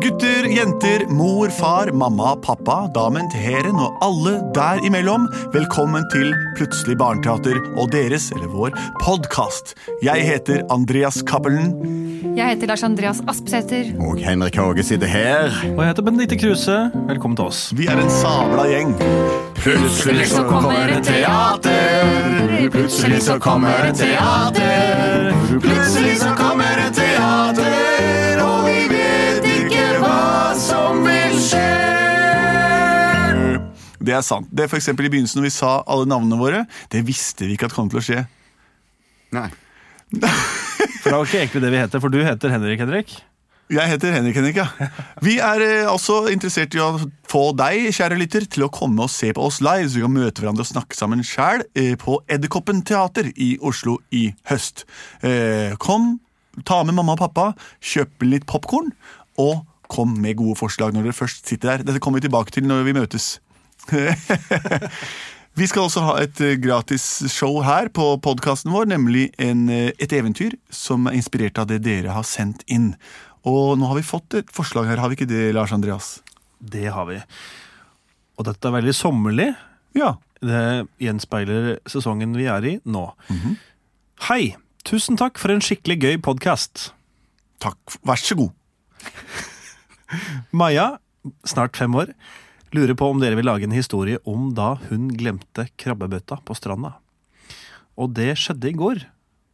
Gutter, jenter, mor, far, mamma, pappa, damen til hæren og alle der imellom. Velkommen til Plutselig barneteater og deres, eller vår, podkast. Jeg heter Andreas Cappelen. Jeg heter Lars Andreas Aspsæter. Og Henrik Hage sitter her. Og jeg heter Benedicte Kruse. Velkommen til oss. Vi er en sabla gjeng. Plutselig så kommer det teater. Plutselig så kommer det teater. Plutselig så kommer det teater, og vi vet ikke hva som vil skje. Det er sant. Det er for eksempel I begynnelsen når vi sa alle navnene våre, det visste vi ikke at kom til å skje. Nei. For det er jo ikke egentlig det vi heter, for du heter Henrik Henrik. Jeg heter Henrik Henrik, ja. Vi er eh, også interessert i å få deg, kjære lytter, til å komme og se på oss live, så vi kan møte hverandre og snakke sammen sjæl eh, på Edderkoppen teater i Oslo i høst. Eh, Kom, ta med mamma og pappa, kjøp litt popkorn, og kom med gode forslag når dere først sitter der. Dette kommer vi tilbake til når vi møtes. Vi skal også ha et eh, gratis show her på podkasten vår, nemlig en, eh, et eventyr som er inspirert av det dere har sendt inn. Og nå har vi fått et forslag her, har vi ikke det, Lars Andreas? Det har vi. Og dette er veldig sommerlig. Ja. Det gjenspeiler sesongen vi er i nå. Hei! Tusen takk for en skikkelig gøy podkast. Takk. Vær så god. Maja, snart fem år, lurer på om dere vil lage en historie om da hun glemte krabbebøtta på stranda. Og det skjedde i går,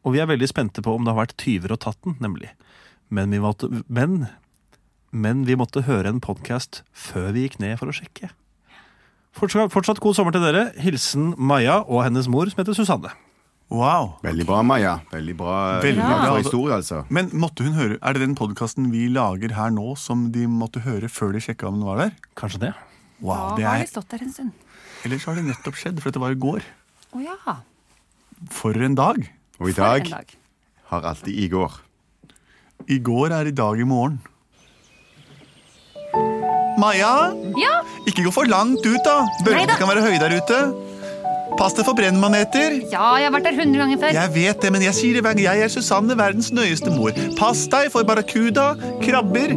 og vi er veldig spente på om det har vært tyver og tatt den, nemlig. Men vi måtte, men, men vi måtte høre en podkast før vi gikk ned for å sjekke. Fortsatt, fortsatt god sommer til dere. Hilsen Maja og hennes mor, som heter Susanne. Wow. Veldig bra, Maja. Veldig bra, Veldig bra. bra historie, altså. Men måtte hun høre, er det den podkasten vi lager her nå, som de måtte høre før de sjekka om den var der? Kanskje det? Wow, det da har vi er, stått der en stund. Ellers har det nettopp skjedd, for dette var i går. Å ja. for For en dag. Og i en dag dag. har alltid i går. I går er i dag i morgen. Maja? Ja, Ikke gå for langt ut, da. Bølgene Neida. kan være høye der ute. Pass deg for brennmaneter. ja, jeg har vært der hundre ganger før. Jeg vet det, men jeg sier det hver gang. Jeg er Susanne, verdens nøyeste mor. Pass deg for barrakuda, krabber,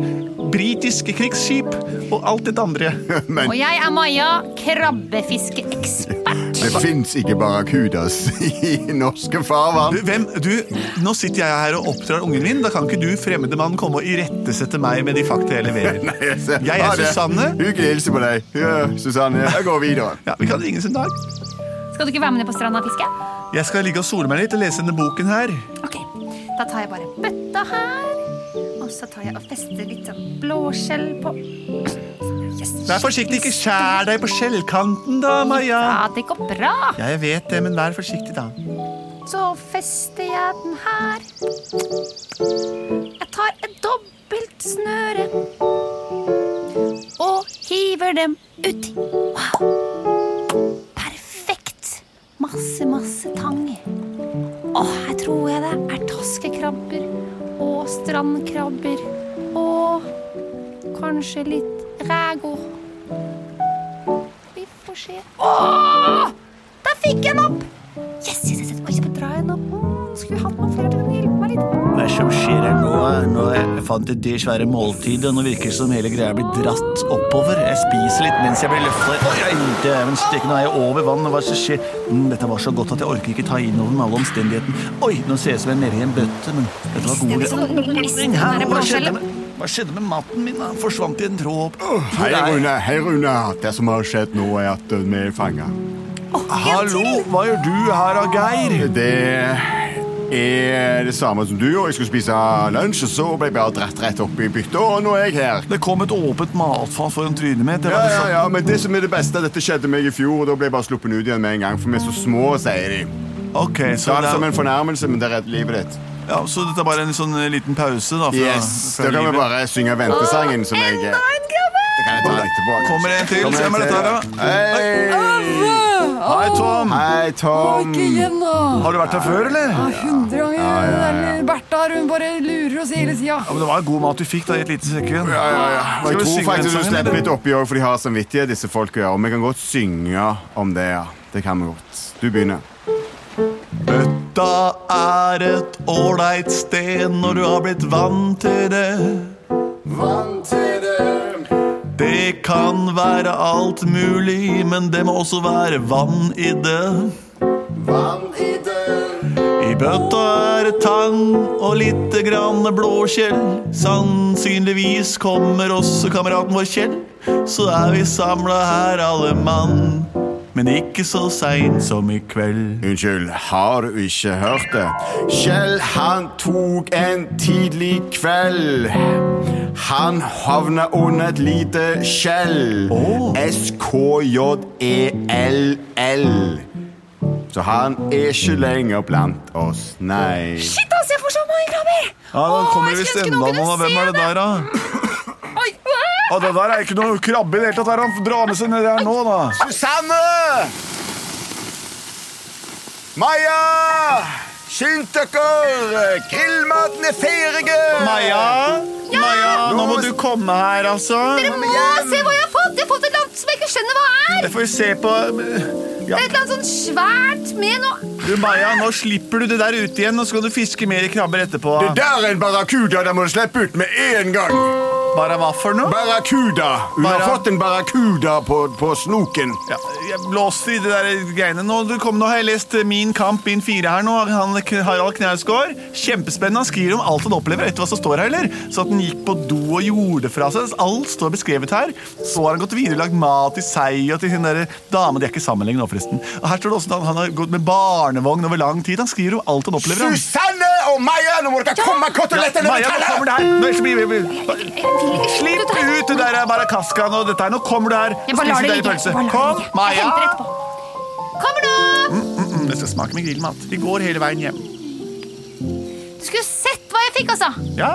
britiske krigsskip og alt det andre. Men Og jeg er Maja, krabbefiskeekspert. det fins ikke barrakudas i norske Du, farvann. hvem, du, nå sitter jeg her og oppdrar ungen min. Da kan ikke du, fremmede mann, komme og irettesette meg med de fakta jeg leverer. Jeg ser- Jeg er Ha det. Susanne. Hyggelig å hilse på deg. Ja, Susanne, jeg går videre. Ja, Vi kan ringe sin dag. Skal du ikke være med ned på stranda og fiske? Jeg skal ligge og sole meg litt og lese denne boken her. Ok, da tar jeg bare bøtta her. Og så tar jeg og fester litt sånn blåskjell på. Yes. Vær forsiktig, ikke skjær deg på skjellkanten, da, Maja. Ja, det går bra. Ja, jeg vet det, men vær forsiktig, da. Så fester jeg den her. Jeg tar et dobbelt snøre og hiver dem uti. Wow. Perfekt. Masse, masse tang. Å, her tror jeg det er taskekrabber og strandkrabber og kanskje litt rægor. Vi får se. Å! Der fikk jeg den opp! Yes, yes, yes, yes. Oi, så drar jeg den opp. Mm, skulle hatt noen flere til å hjelpe meg litt. Hva er det som skjer her nå? Nå jeg fant jeg det svære måltidet, og nå virker det som hele greia blir dratt oppover. Jeg spiser litt mens jeg blir løftet. Oi, oi, dæven steike, nå er jeg over vann. Hva er det som skjer? Mm, dette var så godt at jeg orker ikke ta inn over med alle omstendighetene. Oi, nå ser jeg ut som jeg er nede i en bøtte, men dette var Stemmer gode sånn. Men her, Stemmer Hva blåskjellet. skjedde med, hva skjedde med matten min? da? Han forsvant i en tråd. Hei, Rune. Hei, Rune. Det som har skjedd nå, er at eh, vi er fanga. hva gjør du her, Geir? Det er det samme som du gjorde. Jeg skulle spise lunsj, og så ble jeg bare dratt rett opp i byttet, og nå er jeg her. Det kom et åpent matfat foran trynet mitt. Ja, ja, ja, men det som er det beste, dette skjedde meg i fjor, og da ble jeg bare sluppet ut igjen med en gang, for vi er så små, sier de. Ok, Ta det som en fornærmelse, men det redder livet ditt. dette er bare en sånn liten pause da, Yes, Da kan vi bare synge ventesangen som jeg eh, Enda en krabbe! Det kan jeg ta litt tilbake. Kommer det en til? Kommer det Hvem er dette her, til? Hei! Hei, Tom! Hei, Tom. Ikke igjen, da! Har du vært her før, eller? Ja, Hundre ganger. den der Bertha her, hun bare lurer oss hele tida. Ja, men Det var god mat du fikk da, i et lite sekund. Ja, ja, ja. Og Skal vi Jeg tror synge den faktisk du sangen, slipper eller? litt oppi òg, for de har samvittighet, disse folka. ja. Og vi kan godt synge om det, ja. Det kan vi godt. Du begynner. Bøtta er et ålreit sted når du har blitt vant til det. Vant til kan være alt mulig, men det må også være vann i det. Vann i dør. I bøtta er det tang og lite grann blåskjell. Sannsynligvis kommer også kameraten vår Kjell. Så er vi samla her alle mann, men ikke så seint som i kveld. Unnskyld, har du ikke hørt det? Kjell, han tok en tidlig kveld. Han havna under et lite skjell. Åh. S-K-J-E-L-L. E Så han er ikke lenger blant oss, nei. Shit, ass, jeg får så mange krabber! Ja, Åh, jeg skulle ønske noen kunne se er det der, da? Oi, øh, Ja, det der er ikke noe krabbe i det hele tatt. Han får dra med seg nedi her nå, da. Susanne! Maja! Skynd dere! Grillmaten er ferdig! Maja? Maja, nå må du komme her, altså. Åh, se hva jeg har fått! Jeg har fått et eller annet som jeg ikke skjønner hva er! Jeg får se på ja. Det er et eller annet sånn svært med noe Du, Maja, nå slipper du det der ut igjen, og så kan du fiske mer krabber etterpå. Det der er en barracuda, den må du slippe ut med en gang. Bare hva for noe? Barracuda. Hun Barra- har fått en barracuda på, på snoken. Ja, jeg blåste i det der greiene nå. Du kom nå, har jeg lest eh, Min kamp, min fire her nå. Han, K- Harald Knausgård. Kjempespennende. Han skriver om alt han opplever etter hva som står her, eller? Så at han gikk på do og gjorde fra seg. Alt står beskrevet her. Så har han gått videre og lagd mat til seg og til sin der dame. De er ikke sammen lenger nå, forresten. Og her står det også at han- han har gått med barnevogn over lang tid. Han skriver om alt han opplever. Han. Susanne og Maja, nå må dere komme kotelettene Maja, nå kommer det her! Nå ellers blir vi- vi- Jeg vil ikke Slipp dette her. ut det der barakaskaen og dette her. Nå kommer du her. Jeg bare lar det Spis ligge. deg pølse. Jeg bare lar Kom, det ligge. Jeg Maja. henter etterpå. Kommer nå! Mm, Jeg skal smake med grillmat. Vi går hele veien hjem. Du skulle sett hva jeg fikk, altså! Ja,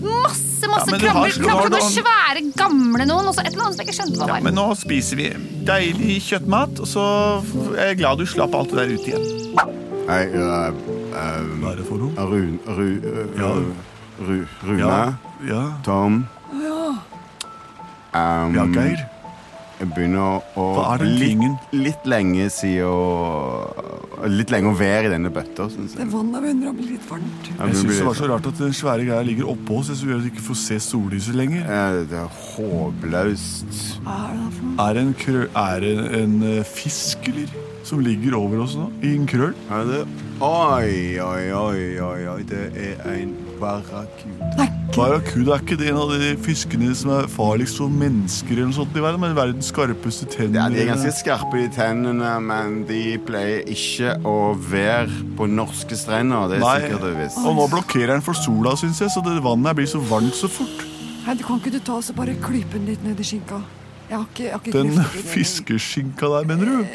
Masse, Ja, masse men du har krabber. slå- har Krabber du noen an- svære, gamle noen, og så et eller annet som jeg ikke skjønte hva ja var. Men nå spiser vi deilig kjøttmat, og så er jeg glad du slapp alt det der ut igjen. Nei, øh, øh, Hva er det for noe? Run... Ru, øh, Ja. Ru- Rune? Ja. ja. Tom? Um, ja Geir. Jeg begynner å Hva er den litt, tingen? litt lenge siden å Litt lenge å være i denne bøtta, syns jeg. Vannet begynner å bli litt varmt. Ja, Jeg du syns blir- det var så rart at den svære greia ligger oppå oss, så gjør at vi ikke får se sollyset lenger. Eh, Det er håpløst. Er det en, krø er det en eh, fisk, eller? Som ligger over oss nå? I en krøll? Er det Oi, oi, oi, oi, oi. Det er en barracuda. Barracuda er ikke det en av de fiskene som er farligst for mennesker eller noe sånt i verden, men verdens skarpeste tenner. Ja, de er ganske skarpe i tennene, men de pleier ikke å være på norske strender. Det er Nei, sikkert og visst. og nå blokkerer den for sola, syns jeg, så det vannet her blir så varmt så fort. Hei, du Kan ikke du ta oss og bare klype den litt ned i skinka? Jeg har ikke, jeg har ikke Den krefter til det. fiskeskinka der, mener du?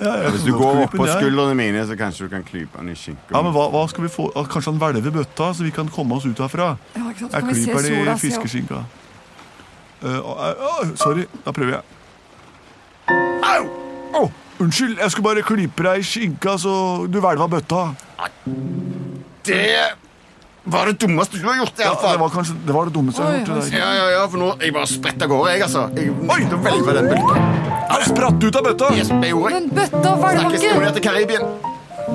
Ja, jeg Hvis kan du godt går gripe opp den, på jeg. skuldrene mine, så kanskje du kan klype den i skinka. Ja, men hva, hva skal vi få? Ah, Kanskje han hvelver bøtta, så vi kan komme oss ut herfra? Ja, ikke sant? Så Jeg kan vi se klyper den i sola, se opp. fiskeskinka. Eh, å, au, au, sorry, da prøver jeg. Au! Å, unnskyld, jeg skulle bare klype deg i skinka, så du hvelva bøtta. Det var det dummeste du har gjort, i Ja, hvert fall. det var kanskje det, var det dummeste jeg har gjort. det der. Ja, ja, ja, for nå Jeg bare spretter av gårde, jeg, altså. Jeg, Oi! Nå velver den bølgen. Han spratt ut av bøtta! Yes, jeg gjorde. Men bøtta og Snakkes valvakke! når vi er til Karibien.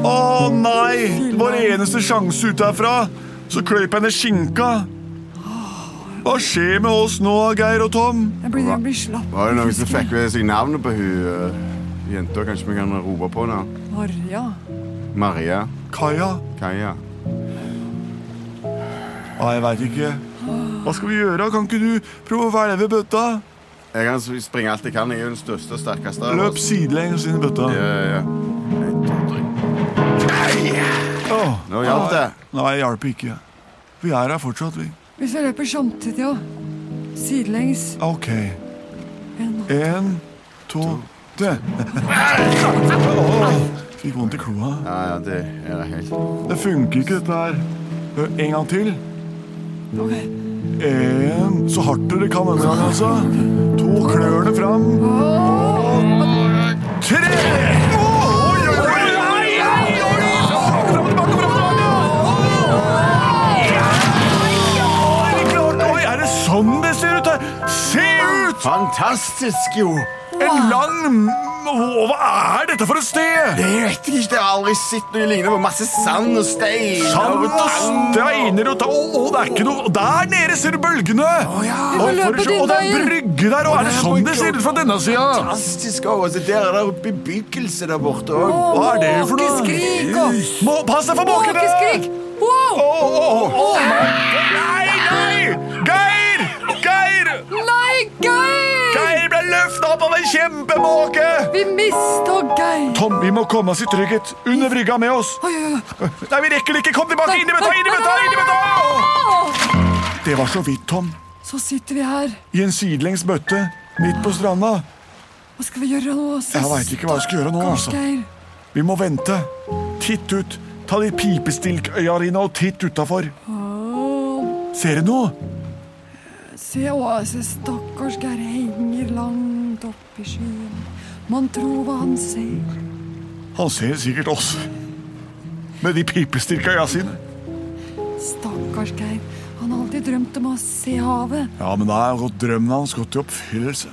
Å nei! Vår eneste sjanse ut herfra. Så kløyp henne skinka. Hva skjer med oss nå, Geir og Tom? Jeg blir, jeg blir slapp. Var det noen som fikk med seg navnet på hun eh, jenta? Kanskje vi kan rope på henne? Maria. Maria Kaja? Kaja. Ja, jeg veit ikke. Hva skal vi gjøre? Kan ikke du prøve å hvelve bøtta? Jeg kan springe alt jeg kan. Jeg er jo den største og sterkeste av Løp sidelengs inn i bøtta. Ja, ja, ja. En, to, tre. Åh, Nå hjalp det. Nei, jeg hjalp ikke. Vi er her fortsatt, vi. Hvis vi løper samtidig og sidelengs OK. En- En, to, tre. Åh, Fikk vondt i kloa. Ja, ja, det er helt Det funker ikke, dette her. Hør, En gang til. Ok. En, så hardt dere kan denne gangen, altså. To klørne fram. Og tre! Oi, er det så sånn det ser ut her! Se ut! Fantastisk, jo! En lang m- Å, Hva er dette for et sted? Det vet jeg ikke. Jeg har aldri sett noe lignende på masse sand og stein. Sand og steiner og ta- Å, å, det er ikke noe Der nede ser du bølgene! Å, ja. for å løpe se- å, det er en din brygge der, og er det det er sånn brygge. det ser ut fra denne sida? Fantastisk. Og så der er det bebyggelse der borte òg. Hva er det for noe? Måkeskrik og Må, pass deg for måkene! Måkeskrik! Wow! Å, å, å, Nei, nei! Geir! Geir! Nei, Geir! Geir ble løfta opp av en kjempemåke! Vi mista Geir. Tom, vi må komme oss i trygghet. Under brygga med oss. Oi, oi, oi. Nei, vi rekker det ikke! Kom tilbake! Inn i bøtta! Inn i bøtta! inn i bøtta! Det var så vidt, Tom. Så sitter vi her. I en sidelengs bøtte midt på stranda. Hva skal vi gjøre nå? Sist? Jeg veit ikke hva jeg skal gjøre nå. altså. Geir. Vi må vente. Titt ut. Ta de pipestilkøya dine og titt utafor. Ser du noe? Se, å, se, stakkars Geir henger langt opp i skyen. Man tror hva han ser. Han ser sikkert oss. Med de pipestilkøya sine. Stakkars Geir. Han har alltid drømt om å se havet. Ja, men da er jo drømmen hans gått i oppfyllelse.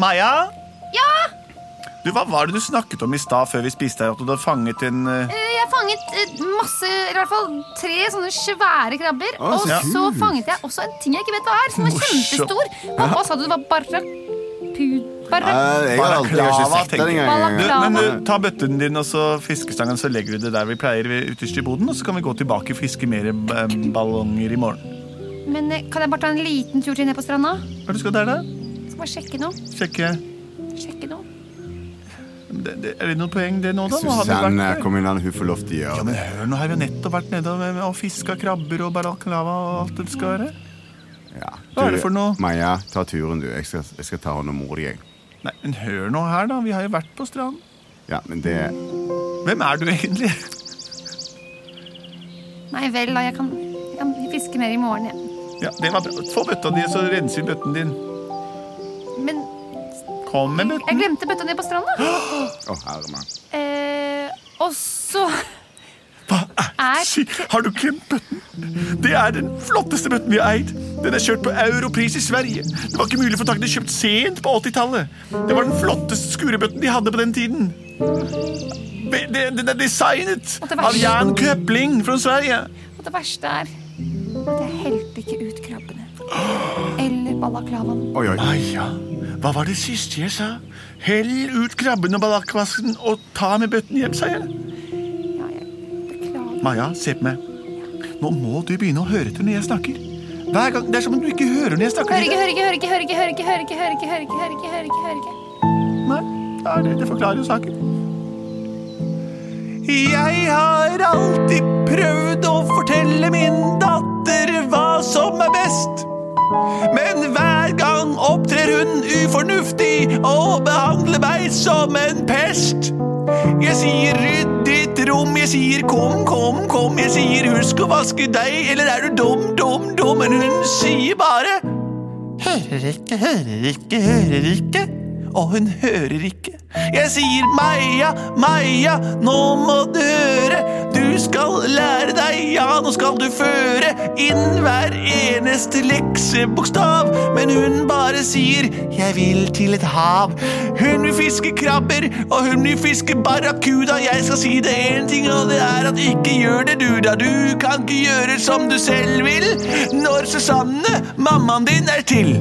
Maja? Ja, Du, Hva var det du snakket om i stad før vi spiste her? At du hadde fanget en eh, eh, jeg fanget eh, masse, eller i hvert fall tre sånne svære krabber. Å, Og så så kult. fanget jeg også en ting jeg ikke vet hva er, som var Morsomt. kjempestor. Pappa sa du det var barrakud... Barra... Jeg har aldri jeg har ikke sett den du, Balaklava. engang. men du, Ta bøtten din og så fiskestangen, så legger du det der vi pleier ved- ytterst i boden. Og så kan vi gå tilbake og fiske mer eh, ballonger i morgen. Men eh, kan jeg bare ta en liten tur til ned på stranda? Hva er det du skal der, da? Skal bare sjekke noe. Sjekke Sjekke noe. det, det, Er det noe poeng, det nå, da? Nå har vi vært Eh, Susanne, der. kom inn, han, hun får lov til å gjøre Ja, det. men hør, nå har vi jo nettopp vært nede og, og fiska krabber og balaklava og alt det skal være. Ja. Hva er det for noe? Maja, ta turen, du. Jeg skal, jeg skal ta hånd om mor di. jeg. Nei, men hør nå her, da. Vi har jo vært på stranden. Ja, men det Hvem er du egentlig? Nei vel, da. Jeg kan, jeg kan fiske mer i morgen, jeg. Ja, det var bra. Få bøtta di, så renser vi bøtten din. Men Kom med bøtten. jeg glemte bøtta ned på stranda. Å, herre mann. Eh, og så Hva er Er- si, Har du glemt bøtten? Det er den flotteste bøtten vi har eid. Den er kjørt på europris i Sverige. Det var ikke mulig å få tak i den kjøpt sent på 80-tallet. Det var den flotteste skurebøtten de hadde på den tiden. Be- det- Den er designet Og det av var så- Jan Köpling fra Sverige. Og det verste er at jeg helte ikke ut krabbene. Eller balaklavaen. Oi, oi. Ah, ja. Hva var det siste jeg sa? Hell ut krabben og ballakvasken og ta med bøtten hjem, sa jeg. Ja, jeg beklager. Maja, se på meg. Nå må du begynne å høre etter når jeg snakker. Hver gang, Det er som om du ikke hører når jeg snakker. Hør ikke, hør ikke, hør ikke, hør ikke, hør ikke, hør ikke, hør ikke, hør ikke, hør ikke, hør ikke, hør ikke. Nei, det, er det. det forklarer jo saken. Jeg har alltid prøvd å fortelle min datter hva som er best. Men hver gang opptrer hun ufornuftig og behandler meg som en pest. Jeg sier rydd ditt rom, jeg sier kom, kom, kom. Jeg sier husk å vaske deg, eller er du dum, dum, dum? Men hun sier bare Hører ikke, hører ikke, hører ikke. Og hun hører ikke. Jeg sier Maja, Maja, nå må du høre. Du skal lære deg, ja, nå skal du føre inn hver eneste leksebokstav. Men hun bare sier jeg vil til et hav. Hun vil fiske krabber, og hun vil fiske barrakuda. Jeg skal si det én ting, og det er at ikke gjør det du, da. Du kan ikke gjøre som du selv vil når Susanne, mammaen din, er til.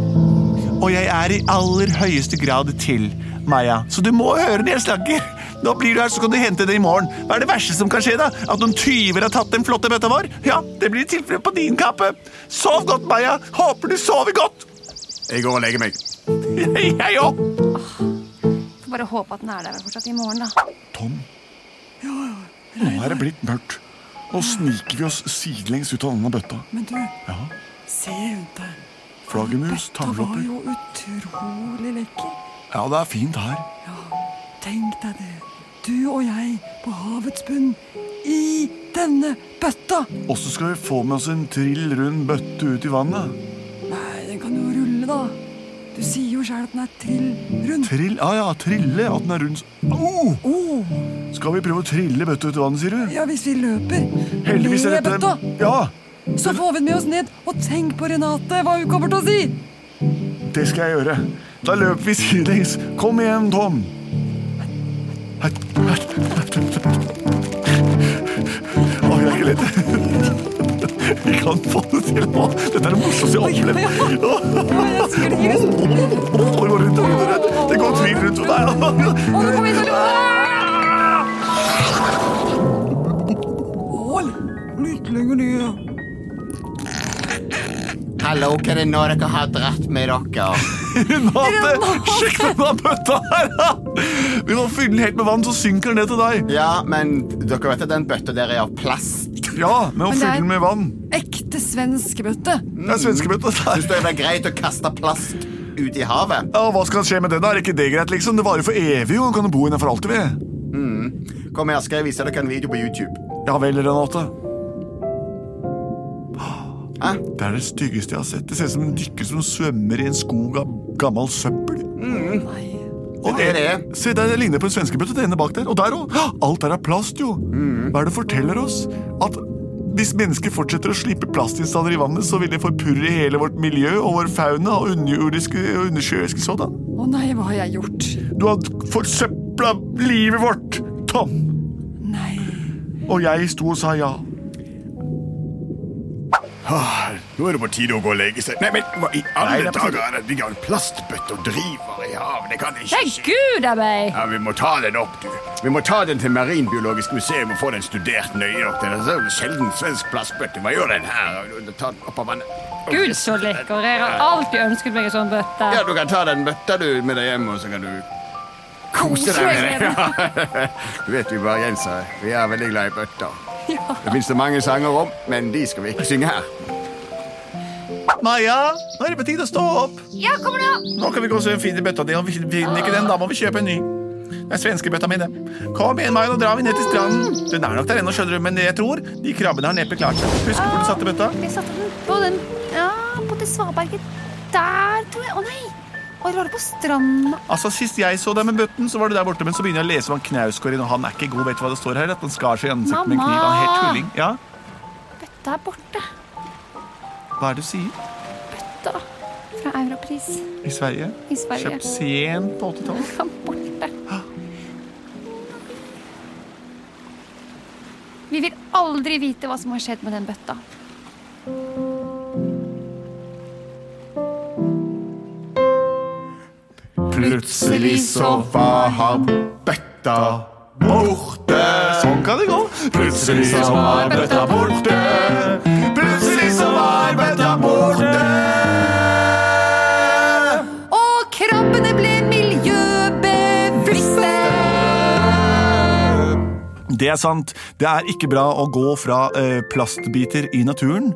Og jeg er i aller høyeste grad til, Maja. Så du må høre når jeg snakker. Nå blir du her, så kan du hente det i morgen. Hva er det verste som kan skje, da? At noen tyver har tatt den flotte bøtta vår? Ja, det blir tilfellet på din kappe. Sov godt, Maja. Håper du sover godt. Jeg går og legger meg. Jeg òg. Får bare håpe at den er der fortsatt i morgen, da. Tom, nå er det blitt mørkt. Nå sniker vi oss sidelengs ut av denne bøtta. Men du, Ja, se rundt deg. Flaggermus, Dette var jo utrolig lekker. Ja, det er fint her. Tenk deg det. Du og jeg på havets bunn. I denne bøtta. Og så skal vi få med oss en trill rund bøtte ut i vannet. Nei, den kan jo rulle, da. Du sier jo sjøl at den er trill rundt. Trill, ja, ja, trille, at den er rund s- Au! Oh, Skal vi prøve å trille bøtta ut i vannet, sier du? ja, hvis vi løper Heldigvis er med dette bøtta, Ja, Så får vi den med oss ned, og tenk på Renate, hva hun kommer til å si! Det skal jeg gjøre. Da løper vi sidelengs. Kom igjen, Tom. Å, jeg er ikke lett. Vi kan få det til nå. Dette er det morsomste jeg har opplevd. Åh, Det går rundt og rundt og rundt. Det går tvil rundt og Å, nå kommer vi til å Ål, litt lenger ned. Hallo, hva er det nå dere har dratt med dere? Renate, sjekk denne bøtta her. da. Vi må fylle den helt med vann, så synker den ned til deg. Ja, men dere vet at den bøtta der er av plast. Ja, med å Men det fylle er- den med vann. Ekte svensk bøtte. Det er svenskebøtta. det Syns her. dere det er greit å kaste plast ut i havet? Ja, Hva skal skje med den? da? Er ikke det greit, liksom? Det varer for evig, jo. Den Kan jo bo inne for alltid, vi. Kom her, skal jeg vise dere en video på YouTube. Ja vel, Renate. Hæ? Det er det styggeste jeg har sett. Det ser ut som en dykker som svømmer i en skog av gammel søppel. Og Mm. Det er det, det. se, der, det ligner på en svenskebøtte, det ene bak der. Og der òg. Alt der er plast, jo. Mm. Hva er det forteller oss? At hvis mennesker fortsetter å slippe plastinnstander i vannet, så vil det forpurre hele vårt miljø og vår fauna og underjordiske og undersjøiske sådan. Å nei, hva har jeg gjort? Du har forsøpla livet vårt, Tom. Nei. Og jeg sto og sa ja. Nå er det på tide å gå og legge seg. Nei, men hva i Nei, alle det er på tide. dager er det de har plastbøtter og driver i havet? Det kan ikke Nei, skje. gud a meg! Ja, Vi må ta den opp, du. Vi må ta den til Marinbiologisk museum og få den studert nøye opp. Det er en sjelden svensk plastbøtte. Hva gjør den her? Ta den opp av vannet. Gud, så lekker. Jeg har alltid ønsket meg en sånn bøtte. Ja, du kan ta den bøtta du med deg hjem, og så kan du kose deg med det. Du vet vi bergensere, vi er veldig glad i bøtter. Det fins det mange sanger om, men de skal vi ikke synge her. Maja, nå er det på tide å stå opp. Ja, kom nå! Nå kan vi gå og se om vi finner bøtta di, og finner vi ikke den, da må vi kjøpe en ny. Det er svenskebøtta mi, det. Kom igjen, Maja, nå drar vi ned til stranden. Den er nok der ennå, skjønner du, men jeg tror de krabbene har neppe klart seg. Husker du hvor du satte bøtta? Jeg satte den på den Ja, på det svaberget der, tror jeg. Å nei! Og jeg lå på stranda. Altså, Sist jeg så deg med bøtten, så var du der borte, men så begynner jeg å lese om han Knausgård inn, og han er ikke god, vet du hva det står her? At han skar seg i ansiktet med en Mamma! kniv. Han er helt tulling. Ja, Bøtta er borte. hva er det du sier? Da. Fra Europris I Sverige? i Sverige. Kjøpt sent på 80-tallet? Den er borte. Vi vil aldri vite hva som har skjedd med den bøtta. Plutselig så var bøtta borte. Sånn kan det gå. Plutselig så var bøtta borte. Plutselig så var bøtta borte. Og krabbene ble miljøbevisste! Det er sant. Det er ikke bra å gå fra eh, plastbiter i naturen.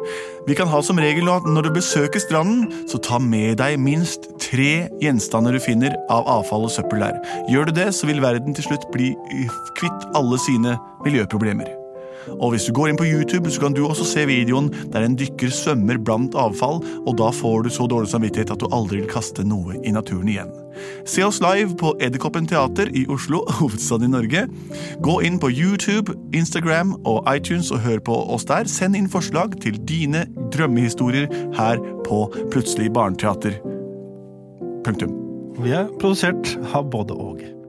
Vi kan ha som regel at når du besøker stranden, så ta med deg minst tre gjenstander du finner av avfall og søppel der. Gjør du det, så vil verden til slutt bli eh, kvitt alle sine miljøproblemer. Og hvis du går inn på YouTube, så kan du også se videoen der en dykker svømmer blant avfall, og da får du så dårlig samvittighet at du aldri vil kaste noe i naturen igjen. Se oss live på Edderkoppen teater i Oslo, hovedstaden i Norge. Gå inn på YouTube, Instagram og iTunes og hør på oss der. Send inn forslag til dine drømmehistorier her på Plutselig barneteater. Punktum. Vi er produsert av både og.